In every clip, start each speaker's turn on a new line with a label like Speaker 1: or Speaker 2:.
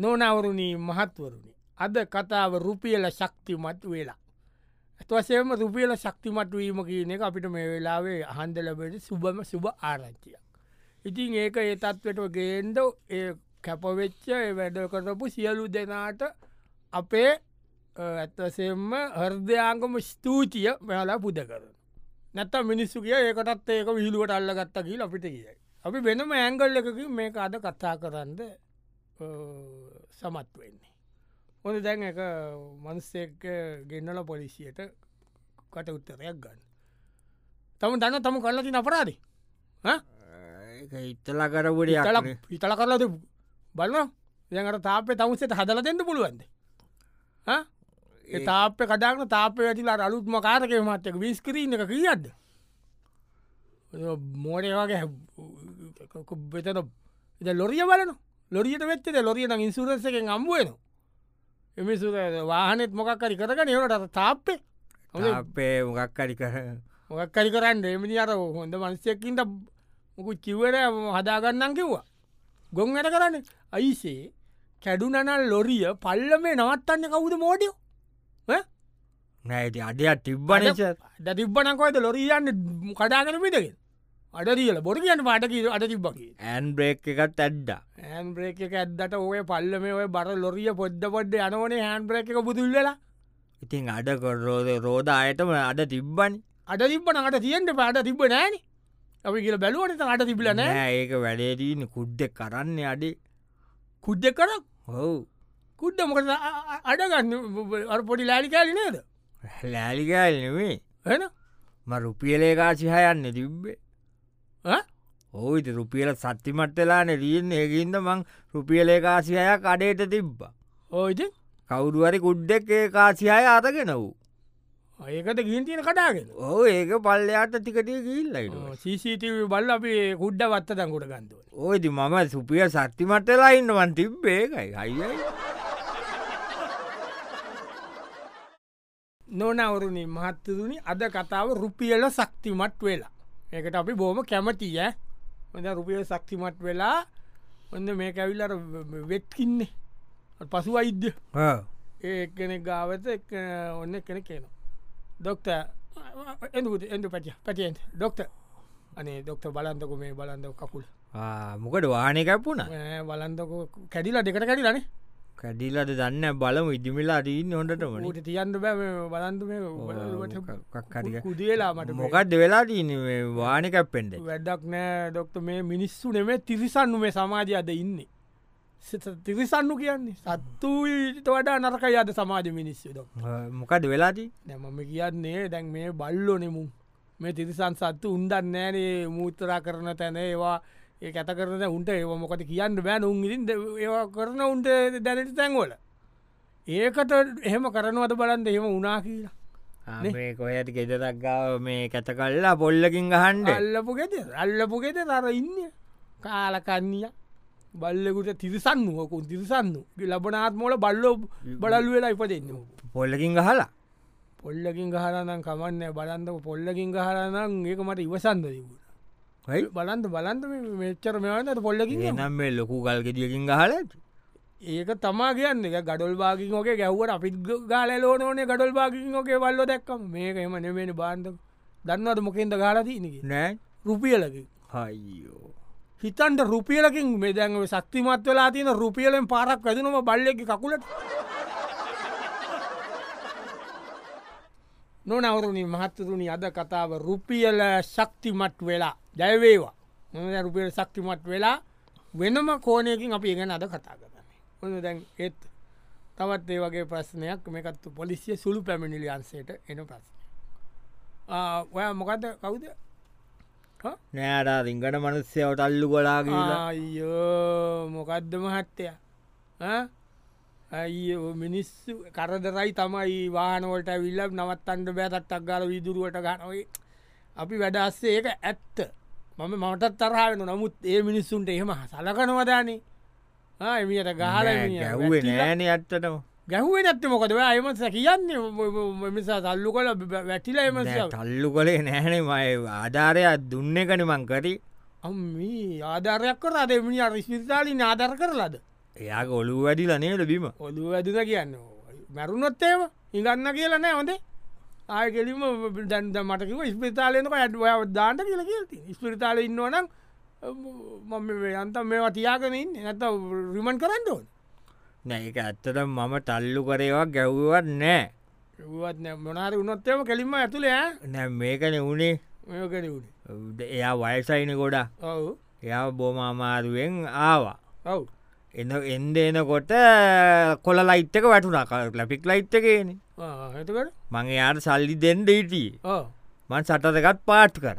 Speaker 1: නොනවරුණී මහත්වරුණි අද කතාව රුපියල ශක්තිමත් වෙලා. ඇත්වසේම රුපියල ශක්තිමත්වීම කියන එක අපිට මේ වෙලාවේ අහන්දලබට සුබම සුභ ආරංචියක්. ඉතින් ඒක ඒ තත්වට ගේන්ද ඒ කැපවෙච්ච ඒ වැඩ කරපු සියලු දෙනාට අපේ ඇත්තසෙම හර්දයාංගම ස්තූතිය මෙයාලා පුද කරන. නැත්ත මිනිස්සු කිය ඒකටත් ඒක විහිළුවට අල්ලගත්ත කියල අපිට කියයි. අපි වෙනම ඇංගල් එකකින් මේ අද කතා කරන්න සමත් වෙන්නේ. හොඳ දැන් එක මන්සෙක් ගෙන්නල පොලිසියට කට උත්තරයක් ගන්න. තම දන්න තම කරලති අපරාදි
Speaker 2: ඉත්තල කරපුට
Speaker 1: ඉතල කරලා තිබ බලන්න දැකට තාපේ තමුසෙට හදල දෙන්න පුළුවන්ද තාප කඩාන තාපේ වැටිලා අලුත්ම කාරක මත්තක විස්කරීන එක කියද මෝඩය වගේ බෙතන ඉ ලොරිය බලන ලොරියට වෙච්චේ ලොරිය ඉන්සුරසකෙන් අම්බුවන එමිසු වාහනෙත් මොකක්කරි කරග නවට තාප්පේ
Speaker 2: අපේ මොගක්කරි කර
Speaker 1: මොකක්කරි කරන්න එමනි අර හොඳ මන්සයකින්ට මොකු චිවර හදාගන්නන් කිව්වා. ගොන් වැට කරන්න අයිසේ කැඩුනනල් ලොරිය පල්ල මේ නවත්තන්න කවුද මෝඩියෝ
Speaker 2: නැති අඩයක් තිබ්බන
Speaker 1: ද තිබ්බනකොයිද ලොරියන්න කඩාගන පිටගෙන අඩ දියල බොරු කියන්න පාටකී අඩ තිබ්බකි
Speaker 2: ඇන් බ්‍රේක් එකත් ඇඩ්ඩා
Speaker 1: ඇන් බ්‍රේක එක ඇදට ඔය පල්ල මේ ඔය බර ලොරිය පොඩ්ඩ පොඩ්ඩ යනවනේ හැන් බ්‍රේක එක පුදුල්ලලා
Speaker 2: ඉතින් අඩ කොරෝද රෝධ අයටම අඩ තිබ්බනි
Speaker 1: අඩ තිබ්බනකට තියෙන්ට පාට තිබ නෑන අපි කියල බැලුවනට අට තිබිල නෑ
Speaker 2: නෑ ඒක වැඩේදීන කුඩ්ඩෙක් කරන්න අඩේ
Speaker 1: කුද්ද කරක්
Speaker 2: හෝ
Speaker 1: කුද්ද මොකද අ- අ- අඩගන්න අර පොඩි ලෑලිකාලි නේද
Speaker 2: ලෑලිකල් නෙවේ
Speaker 1: එන
Speaker 2: ම රුපියලේකා සිහයන්න තිබ්බේ ඕයිත රුපියල සත්තිමට්ටලාන රියෙන් ඒකින්ද මං රුපියලේකාසිහය කඩේට තිබ්බ
Speaker 1: ඕයිති
Speaker 2: කවුරුවරි කුඩ්ඩෙක් ඒ කාසිහය අතගෙන වූ
Speaker 1: ඒකට ගින්තියන කටාගෙන
Speaker 2: ඕ ඒක පල්ලයාට ටිකටිය ගිල්ලයිට
Speaker 1: සීසිීටව බල්ල අපි කුඩ්ඩ වත්ත දංකොට ගන්දුව
Speaker 2: ඕයිති මම සුපිය සත්තිමට්ටලා ඉන්නවන් තිබ්බේකයි අයියි
Speaker 1: නොනවරුණ මහත්තතුනි අද කතාව රුපියල සක්තිමත් වෙලා ඒකට අපි බෝම කැමතිය හොඳ රුපියල සක්තිමත් වෙලා ඔන්න මේ ඇවිල්ලර වෙත්කින්නේ පසු අයිද්‍ය ඒකෙන ගාවත එක් ඔන්න කෙන කියනවා දොක්ට එඳකුට එඳු පැටිය පැටියෙන් ඩොක්ට අනේ දොක්ට බලන්දක මේ බලන්ද කකුල්
Speaker 2: මොකට වානකැපුුණ
Speaker 1: ඈ, බලන්දක කැඩිලා දෙකට කැඩිලනේ
Speaker 2: කැඩිලට දන්න බලම ඉදිමිලා දීන්න හොටටම
Speaker 1: ට තියන්න බෑ බලන්ද මේ බලුවට කුදේලා මට මොක
Speaker 2: මොකක්ද වෙලා දීන වානකැප්පෙන්ට
Speaker 1: වැඩක් නෑ ඩොක්ට මේ මිනිස්සු නෙමේ තිරිසන්නු මේ සමාජය අද ඉන්නේ සිත තිරිසන්නු කියන්නේ සත්තුට වඩා නරකයි අද සමාජ මිනිස්සු දොක්
Speaker 2: මොකද වෙලාදී
Speaker 1: දැමම කියන්නේ දැන් මේ බල්ලො නෙමුම් මේ තිරිසන් සත්තු උන්දන්න නෑනේ මූතරා කරන තැන ඒවා ඒ ඇත කරන උන්ට ඒ මොකට කියන්න බෑන උන්ගිරින් ඒවා කරන උන්ට දැනට තැන්වල ඒකට එහෙම කරනවද බලන්ද එහෙම උනා කියලා
Speaker 2: මේ කොහයට ගෙදරක් ගාව මේ කැත කල්ලා පොල්ලකින් ගහන්ඩ
Speaker 1: අල්ලපු ගෙත අල්ලපු ගෙත තර ඉන්න කාලකන්නිය බල්ලෙකුට තිරිසන්නුවකුන් තිරිසන්නු ලබනාත්මෝල බල්ලෝ බලල් වෙලා ඉපදෙන්න
Speaker 2: පොල්ලකින් ගහලා
Speaker 1: පොල්ලකින් ගහරනම් කමන්න බලන්දක පොල්ලකින් ගහරනම් ඒක මට ඉවසන්ද තිබුණ
Speaker 2: හයි
Speaker 1: බලන්ද බලන්ද මේ මෙච්චර මෙවන්නට පොල්ලකින් යනවා.
Speaker 2: එනම් මේ ලොකු ගල්ගෙදියකින් ගහල
Speaker 1: ඒක තමා කියන්න එක ගඩොල් බාගින් ෝකේ ගැව්වට අපිත් ගාල ලෝනේ ගඩොල් බාගින් ෝකේ වල්ල දැක්කම මේක එම නෙමෙන බාන්ධ දන්නවට මොකින්ද ගාලදීනක
Speaker 2: නෑ
Speaker 1: රුපියලකින්
Speaker 2: හයිෝ
Speaker 1: හිතන්ට රුපියලකින් මෙදැන් සක්තිමත් වෙලා තියෙන රුපියලෙන් පාරක් වැදනම බල්ලෙක් කකුලට නොනවරුණින් මහත්තතුනි අද කතාව රුපියල ශක්තිමත් වෙලා ජයවේවා මොද රුපියල ශක්තිමත් වෙලා වෙනම කෝනයකින් අපි ගැන අද කතා කරන්නේ ඔන්න දැන් ඒත් තවත් ඒ වගේ ප්‍රශ්නයක් මේකත්තු පොලිසිය සුළු පැමිණිලියන්සේට එන ප්‍රශ්න ඔය මොකද කවුද හ?
Speaker 2: නෑඩා රිංගට මනුස්්‍යයට අල්ලු කොලාගලා
Speaker 1: අයෝ මොකක්ද මහත්තය ඇයි මිනිස්සු කරදරයි තමයි වානෝට විල්ල නවත්තන්ට බෑතත්තක් ගල විදුරුවට ගනොයි අපි වැඩස්සේ ඒක ඇත්ත මම මටත් තරහාවෙන නමුත් ඒ මිනිස්සුන්ට එහෙම සලකනවදානේ එමියට ගහල
Speaker 2: ගැව්ේ නෑන ඇත්තටම
Speaker 1: ගැහුවේ නැත්ත මොකද ඔයා එමස කියන්නේ මිසා සල්ලු කල වැටිල එමස
Speaker 2: තල්ලු කොලේ නෑනේ මය ආධාරයක් දුන්න එකන මංකරි
Speaker 1: අම්මී ආධාරයක් කර අද මිනි අරිශවිතාලි ආධර කරලද
Speaker 2: එයා ගොලු වැඩිලා නේට බිම
Speaker 1: ඔොදු වැදිද කියන්න මැරුණොත්තේම ඉගන්න කියලනෑ හොඳේ ආය කෙලිම දැන්ද මටකිව ස්පිතාලයනක ඇඩුව දාන්ට කියල කියති ස්පිරිතාල ඉන්නවනම් මම යන්ත මේවා තියාගෙනින් නැත රිමන් කරන්න ඕන
Speaker 2: නැක ඇත්තට මම තල්ලු කරේවා ගැව්වත් නෑ
Speaker 1: වත් මොනාර උනොත්තේම කෙලින්ම ඇතුළේ ඈ.
Speaker 2: නැ මේකන වුණේ
Speaker 1: මේක කෙරවුණේ
Speaker 2: එයා වයසයින ගොඩා
Speaker 1: ඔවු
Speaker 2: එයා බොම අමාරුවෙන් ආවා
Speaker 1: ඔව්
Speaker 2: එන එන්ඩ එනකොට කොල ලයිට්ක වැටුනා ලපික් ලයිට්කේන
Speaker 1: එතකට
Speaker 2: මං යාට සල්ලි දෙන්ඩ හිටිය
Speaker 1: ඕ
Speaker 2: මන් සටතකත් පාට් කර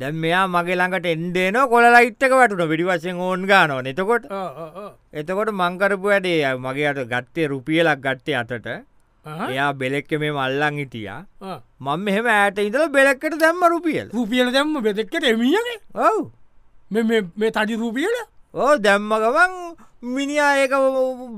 Speaker 2: දැම් මෙයා මගේ ළඟට එන්ඩේන කොල ලයිට්ක වැටුන පිඩිවසෙන් ඕන් ගානෝ එතකොට එතකොට මංකරපු වැඩේ අය මගේ අට ගත්තේ රුපියලක් ගත්තේ අතට එයා බෙලෙක්ක මේ මල්ලං හිටියා මං මෙහෙම ඇයට ඉඳල බෙලෙක්කට දැම්ම රුපියල්
Speaker 1: රුපියල දැම්ම බෙදෙක්කට එමියගේ
Speaker 2: ඔව්
Speaker 1: මෙ මේ තඩි රුපියල
Speaker 2: ඕ දැම්මගවන් මිනිා ඒක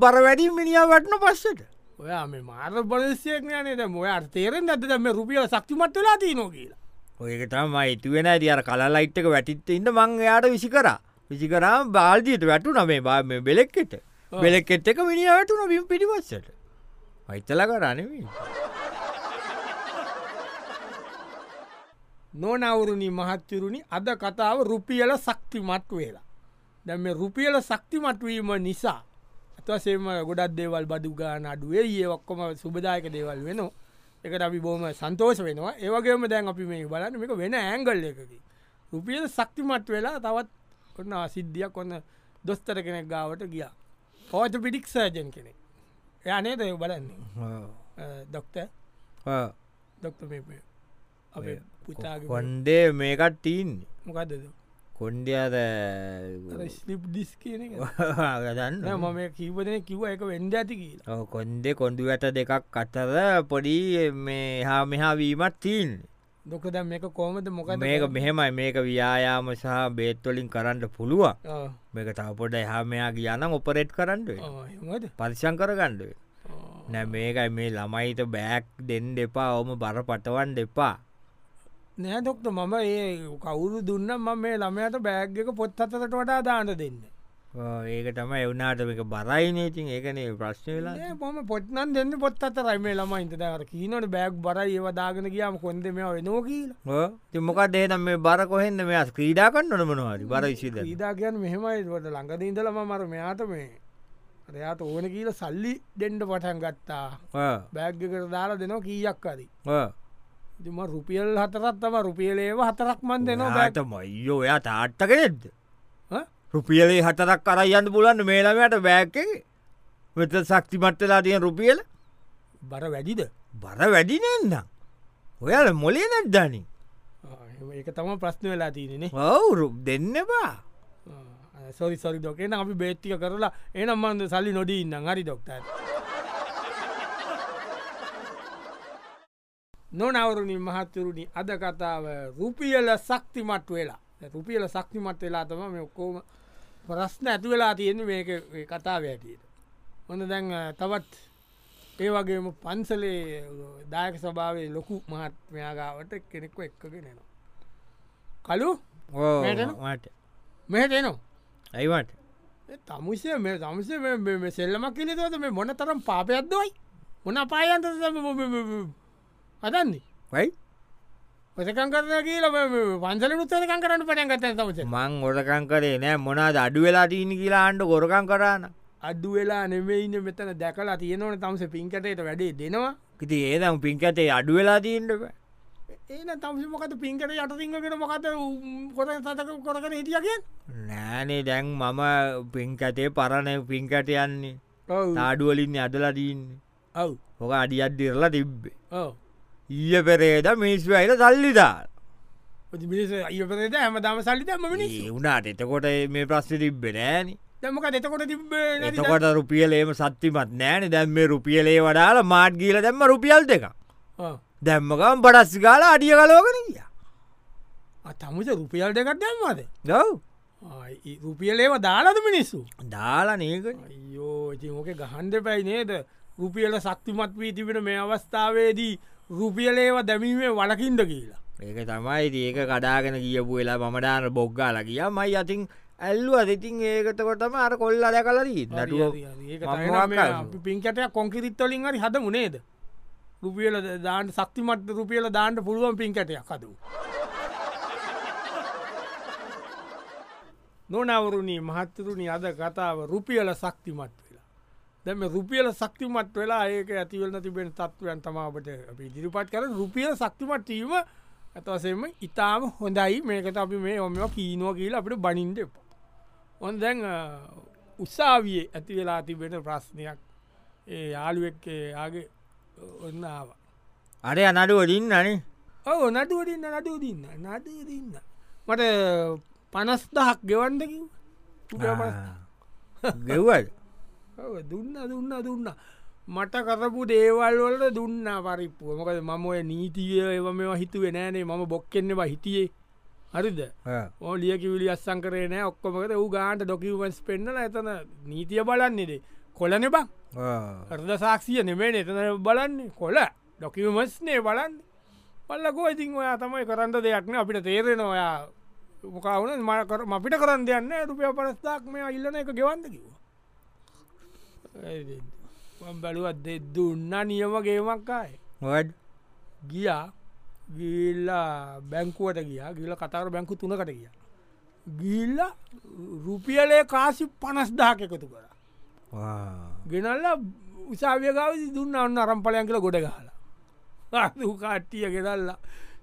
Speaker 2: බර වැඩි මිනිියා වටන පස්සට
Speaker 1: ඔයා මේ මාර බලසියක් නේද මොය අර්තේරෙන් ඇත දැම රුපියල සක්තිමත් වෙලා තියනෝ කියලා
Speaker 2: ඔයකතම ඉතුවෙන ඇති අර කලා ලයිට්ක වැටිත්ත ඉන්න මං එයාට විසි කරා විසි කරාම බාල්දියට වැටු නමේ බා මේ බෙලෙක්කෙට බෙලෙක්කෙට් එක මිනිිය වැටුන බිම් පිටිවස්සට අයිතල කරනවී
Speaker 1: නොනවුරුණි මහත්තරුණි අද කතාව රුපියල සක්තිමත් වෙලා දැම රුපියල සක්තිමත්වීම නිසා ඇතසේම ගොඩත් දේවල් බදුගාන අඩුවේ ඒ ඔක්කොම සුබදායක දේවල් වෙන එක අපි බෝම සන්තෝෂ වෙනවා ඒවගේම දැන් අපි මේ බලන්න එක වෙන ඇංගල් එකකි රුපියල සක්තිමත් වෙලා තවත් ඔන්න සිද්ධියක් ඔන්න දොස්තර කෙනෙක් ගාවට ගියා පෝත පිටික් සර්ජන් කෙනෙ යනේ දය බලන්නේ දොක්ට දොක්ට මේ අපේ පුතාගේ
Speaker 2: කොන්්ඩේ මේකත් තිීන්නේ
Speaker 1: මොකක්දද
Speaker 2: කොන්්ඩියද
Speaker 1: ස්ලිප් ඩිස් කියන එක
Speaker 2: ගදන්න
Speaker 1: නෑ මම මේ කීපදන කිව්ව එක වෙන්ඩ ඇති කියලා
Speaker 2: ඔව් කොන්්ඩෙ කොඩු ඇට දෙකක් අතර පොඩි මේ හා මෙහා වීමත් තිීන්
Speaker 1: දොකද මේක කෝමද මොකද
Speaker 2: මේක මෙහෙමයි මේක ව්‍යයාම සහ බේත්වලින් කරන්න පුළුවන් මේක තවපොඩ එහා මෙයා කියන්න ඔපරේට් කරන්නුව
Speaker 1: මද
Speaker 2: පරිශං කරගණ්ඩුව නැ මේකයි මේ ළමයිට බෑක් දෙන්න දෙපා ඔම බර පටවන් දෙපා
Speaker 1: නෑ දොක්ට මම ඒ කවුරු දුන්න ම මේ ළමයට බෑග් එක පොත් අතට වඩා දාන්න දෙන්න
Speaker 2: ඔව් ඒක තම එවනාට මේක බරයිනේතින් ඒකනේ ප්‍රශ්නලා
Speaker 1: ඒ මම පොත්්නන් දෙන්න පොත් අතරයි මේ ළමයින්ට දර කීනට බෑග් බරයි ඒවදාගෙන කියාම කොන්ද මේ වෙනෝ කියලා
Speaker 2: තිමොකක් දේනම් මේ බර කොහෙන්ද මෙයා ක්‍රීඩා කන්න නොමනවාරි බර විශිද
Speaker 1: ඊදාගයන් මෙහෙමයිට ළඟදීදලම මර මෙයාට මේ රයාට ඕන කියල සල්ලි ඩෙන්ඩ පටන් ගත්තා බෑග්ග කර දාලා දෙනවා කීයක් අරි දෙම රුපියල් හතරත්තම රුපියලේව හතරක් මන් දෙනවා බෑග්
Speaker 2: ට මයිෝ එයා තාට්ටකෙනෙද්ද රුපියලේ හතරක් කරයන්න පුලන්න මේලාමයට බෑක්ක වෙත සක්ති මට්ටලා තියෙන රුපියල
Speaker 1: බර වැඩිද
Speaker 2: බර වැඩිනන්න ඔයාල මොලේ නැද්දනි
Speaker 1: ඒක තම ප්‍රශ්න වෙලා තියනෙ
Speaker 2: ඔවුරු දෙන්නවා
Speaker 1: සොරි සොරි ඩොක් එන අපි බේත්තික කරලා එනම් මන්ද සල්ලි නොඩී ඉන්න හරි ඩොක්ට නොනවරුණින් මහත්තුරුණි අද කතාව රුපියල සක්තිමට් වෙලා දැන් රුපියල සක්තිමට් වෙලා තම මේ ඔක්කෝම ප්‍රශ්න ඇතු වෙලා තියෙන මේක ඒ කතාව ඇටියට හොඳ දැන් අ, තවත් ඒ වගේම පන්සලේ දායක සභාවේ ලොකු මහත්මයාගාවට කෙනෙක්ව එක්කගෙනනවා කලු මේකද?
Speaker 2: මට
Speaker 1: මෙහට එනවා
Speaker 2: ඇයිවට
Speaker 1: තමුසේ මේ තමසේ සෙල්ලමක් කිලෙදවද මේ මොන තරම් පාපයක්දවයි මොන පායන්ත හදන්නේ
Speaker 2: වයි
Speaker 1: පසකන් කරන කියලා පන්සල උත්තනකන් කරන්න පටන් ගත තමස
Speaker 2: මං ගොඩකං කරේ නෑ මොනාද අඩු වෙලා දීන කියලා ආණ්ඩ ගොරකං කරන්න
Speaker 1: අඩු වෙලා නෙමෙයින්න මෙතන දැකලා තියෙනවන තමස පින්කටයට වැඩේ දෙනවා
Speaker 2: කිති ඒදම් පින්කතේ අඩු වෙලා දීන්ටක
Speaker 1: ඒන තමස මොකත පින්කට යටතිංගකට මොකත කොට සතක කොරගෙන හිටියගෙන්
Speaker 2: නෑනේ දැන් මම පින්කතේ පරණ පින්කට යන්නේ නාඩුවලින් අදලා දීන්නේ
Speaker 1: ඔව
Speaker 2: හොක අඩියත්දිරලා තිබ්බේ
Speaker 1: ඔව
Speaker 2: ඊය පෙරේද මිනිස්ු අයිල සල්ලිදා
Speaker 1: මිනිස අයපරද හැම දම සල්ලි දමනි
Speaker 2: වුණට එතකොට මේ ප්‍රශ්ි තිබ්බෙ නෑන
Speaker 1: දැමක එතකොට තිබ
Speaker 2: එතකොට රුපියලේම සත්තිමත් නෑන දැම් මේ රුපියලේ වඩාල මාට් ගීල දැම්ම රුපියල් දෙක දැම්මකම් පඩස්සිකාල අඩිය කලෝකන කිය
Speaker 1: තමුස රුපියල් දෙකට දැම්වාද
Speaker 2: දව්
Speaker 1: රුපියලේව දාලද මිනිස්සු
Speaker 2: දාලා නක
Speaker 1: අයෝ ඉතින් ඕක ගහන්ඩ පැයි නේද රුපියල සක්තිමත් වී තිබෙන මේ අවස්ථාවේදී රුපියලේව දැමීමේ වලකින්ද කියලා
Speaker 2: ඒක තමයි ඉතින් ඒක කඩාගෙන කියපු වෙලා මමඩාන බොග්ගාල කිය මයි අතින් ඇල්ලුව දෙතින් ඒකතකොටම අර කොල්ල දැකලදී නටුව මමකල්.
Speaker 1: පින්කටය කොංකිරිත්තොලින් හරි හද මුණේද රුපියල දාන්ට සක්තිමට රුපියල දාන්ට පුළුවන් පින්කටයක් හද නොනවරුණී මහත්තරුණි අද කතාව රුපියල සක්තිමත් වෙලා දැම රුපියල සක්තිමත් වෙලා ඒක ඇතිවල තිබෙන තත්ත්වයන් තමාවට අපි දිරිපත් කර රුපියල සක්තිමටීම ඇතවසෙම ඉතාම හොඳයි මේකට අපි මේ ඔම කීනෝ කියලා අපට බනින්ද එප ඔොන් දැන් උත්සාවියේ ඇති වෙලා තිබෙන ප්‍රශ්නයක් ඒ යාළුවෙක්කේ යාගේ ඔන්නාව
Speaker 2: අරය නඩුව දින්න අනේ
Speaker 1: ඔව නඩුවරන්න නඩුවදන්න නඩුවදන්න මට පනස්දහක් ගෙවන්දකින්
Speaker 2: ගෙව්වල්
Speaker 1: දුන්න දුන්න දුන්න මට කරපු දේවල් වලට දුන්න පරිප්පුුව මොකද මම ඔය නීතිය ඒව මෙවා හිතුවේ නෑනේ මම බොක්කෙන්න්නවා හිටියේ හරිද ඕ ලියකිවිලි අස්සං කරේ නෑ ඔක්කොමකට වූ ගාන්ට ඩොකිවන්ස් පෙන්න්නල ඇතන නීතිය බලන්නේෙදේ කොලන බං අර්ද සාක්ෂිය නෙමේ එතන බලන්නේ කොල ඩොකිවමස්නේ බලන්න පල්ලකෝ ඉතින් ඔයා තමයි කරන්න දෙයක්න අපිට තේරෙන ඔයා මොකවුන මකර අපිට කරන්න දෙයන්න රුපිය පරස්ථාක් මේ ඉල්ලන එක ගෙවන්ද කිව්වා බැලුවත් දෙ දුන්න නියම ගේමක්කායි
Speaker 2: මොඩ
Speaker 1: ගියා ගිල්ලා බැංකුවට ගියා ගිල කතර බැංකු තුනකට ගිය ගිල්ල රුපියලේ කාසි පනස් දාක එකතු කර ගෙනල්ල උසාවියකාව දුන්න අන්න අරම්පලයන් කියල ගොඩ ගහලා කාට්ටිය ගෙනල්ලා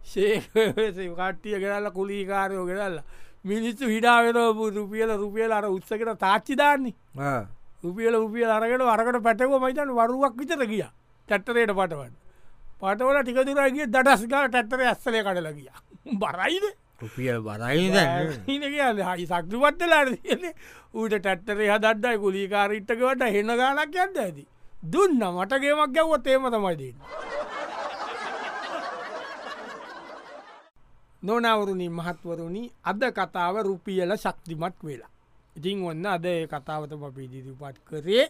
Speaker 1: ශේකසේ කට්ටිය ගෙනල්ල කුලීකාරයෝ ගෙනල්ලා මිනිස්සු හිඩාවෙන රුපියල රුපියල අර උත්සකට තාච්චිධාන්නේ රුපියල රුපියල අරගෙන අරකට පැටකෝ මයිතන් වරුවක් විතර ගිය චැට්ටරයට පටවන්න පටවල ටිකතුරගේ දටස්ගල ටැත්තර ඇස්සලය කඩල ගිය බරයිද
Speaker 2: කුපිය බරයි
Speaker 1: හිනකයාද හයි සක්තිපත්තලාට තියන්නේ ඌට ටැත්තරේ හදද්දයි කුලිකාරීට්ටකවට හෙන්න ගාලක් ඇද ඇති දුන්න මටගේමක් ගැව්වත් ඒම තමයිදන්න. නොනවරුණින් මහත්වරුණි අද කතාව රුපියල ශක්තිමත් වෙලා. ඉතින් ඔන්න අද ඒ කතාවතම පිදිරිපත් කරේ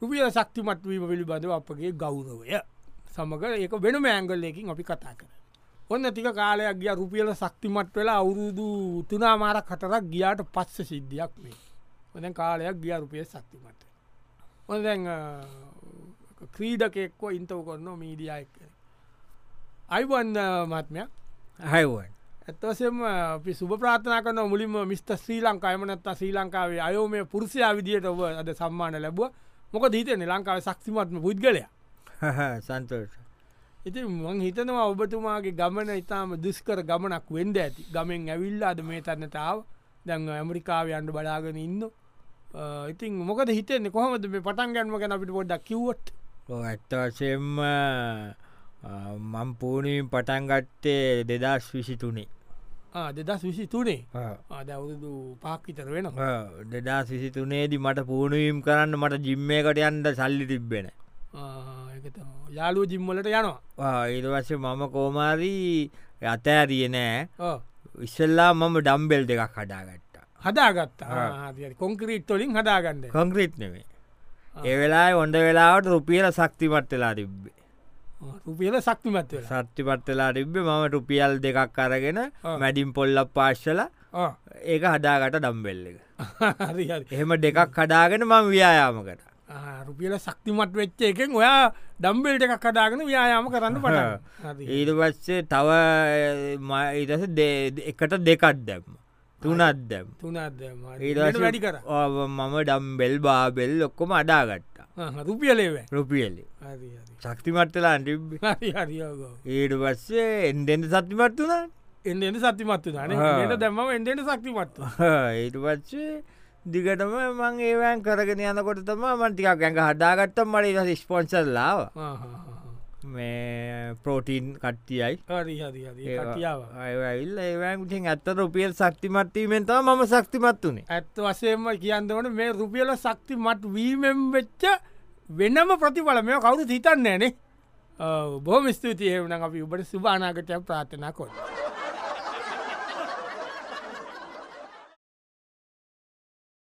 Speaker 1: රුපියල ශක්තිමත්වීම පිළිබඳව අපගේ ගෞරවය සමඟ ඒක වෙන මෑංගල්ලයකින් අපි කතා කර. ඔන්න තික කාලයක් ගිය රුපියල ශක්තිමත් වෙලා අවුරුදු තුනාමාර කටරක් ගියාට පස්ස සිද්ධියක් මේ. ඔොදැන් කාලයක් ගිය රුපිය ශක්තිමත්. ඔොදැන් ක්‍රීඩකෙක්කෝ ඉන්තව කොන්න මීඩියය කර. අයිබන්න මත්මයක්
Speaker 2: හයිුවන්
Speaker 1: ඇත්තවසම අපි සුභ ප්‍රාථනා කන මුලින්ම මිස්ට ශ්‍රී ලංකායමනත් ශ්‍රී ලංකාවේ අයෝ මේ පුරුසියා විදියට ඔබ අද සම්මාන ලැබුව මොක දීතන ලංකාව සක්තිමත්ම පුද්ගලය
Speaker 2: සන්තෝට
Speaker 1: ඉති මං හිතනවා ඔබතුමාගේ ගමන ඉතාම දුස්කර ගමනක් වෙන්ඩ ඇති ගමෙන් ඇවිල්ලාද මේ තන්නටාව දැන් ඇමරිකාව අන්ඩ බලාගෙන ඉන්න අ, ඉතින් මොකද හිතෙන්නේ කොහමද මේ පටන් ගැන්ම ගැන අපිට පොඩ්ඩක් කිව්වොත්
Speaker 2: ඇත්තවසෙන්ම මං පූනිමින් පටන්ගත්තේ දෙදස් විසිතුනේ
Speaker 1: දෙදස් විසි තුනේ දැවුදු පාක්කිතර වෙන
Speaker 2: දෙදා සිසිතුනේදී මට පූනුවීම් කරන්න මට ජිම්මයකට යන්ට සල්ලි තිබ්බෙන
Speaker 1: යාලුව ජිම්මලට යනවා
Speaker 2: ඒදවස මම කෝමාරී අතෑරිය නෑ
Speaker 1: ඕ.
Speaker 2: ඉස්සල්ලා මම ඩම්බෙල් දෙකක් හඩාගට්ට
Speaker 1: හදාගත්ත කොංක්‍රීට් තොලින් හදාගන්න
Speaker 2: කොංක්‍රීට් නෙවේ ඒවෙලා ඔොඩ වෙලාවට රුපියල සක්තිමත් වෙලා තිබ්බේ
Speaker 1: රුපියල සක්තිමත් වෙලා.
Speaker 2: සත්තිපත් වෙලා තිබ්බේ මම රුපියල් දෙකක් අරගෙන මැඩිම් පොල්ලක් පාශ්ශල
Speaker 1: ආ.
Speaker 2: ඒක හදාගට ඩම්බෙල් එක
Speaker 1: හරි හරි.
Speaker 2: එහෙම දෙකක් හඩාගෙන මං ව්‍යයාමකට
Speaker 1: ආ, රුපියල සක්තිමත් වෙච්ච එකෙන් ඔයා ඩම්බෙල්ට එකක් කදාගෙන ව්‍යයාම කරන්න පට
Speaker 2: ඊට පස්සේ තව ඉටස එකට දෙකත් දැම්ම තුනත් දැම්
Speaker 1: තුනත්
Speaker 2: ඊට
Speaker 1: වැඩි කර
Speaker 2: මම ඩම්බෙල් බාබෙල් ඔක්කොම අඩාගට්ටා
Speaker 1: ආ, රුපියලේව
Speaker 2: රුපියලි
Speaker 1: හරි
Speaker 2: ශක්තිමට්ටලා අටිබ්
Speaker 1: හරි හරිගෝ
Speaker 2: ඊට පස්සේ එන්දෙන්ට සත්තිමත් වුණ
Speaker 1: එන්ඩෙන්ට සතිමත්තු න
Speaker 2: ආ.
Speaker 1: ට දැම එන්ඩෙන්ට සක්තිමත්ව
Speaker 2: ඊට පච්චේ දිගටම මං ඒවෑන් කරගෙන යනකොට තම මන්ටිකක් ගැඟ හඩාගත්තම් මට ඉ ස්පොන්සල්ලාව මේ පෝටීන් කට්ටියයි
Speaker 1: හරි හරි හරි කටියාව
Speaker 2: ඇල් ඒවෑන්ටින් ඇත්ත රුපියල් සක්තිමත්වීමෙන්තව මම සක්තිමත් වුණේ
Speaker 1: ඇත්ත වසයෙන්ම කියන්න ඕන මේ රුපියල සක්ති මත් වීමෙන් වෙච්ච වෙනම ප්‍රතිඵල මෙ කවුරු හිතන්න ෑනේ බොහොම ස්තුතියවන අපි උබට සුභානාගතයක් ප්‍රාථනා කොට.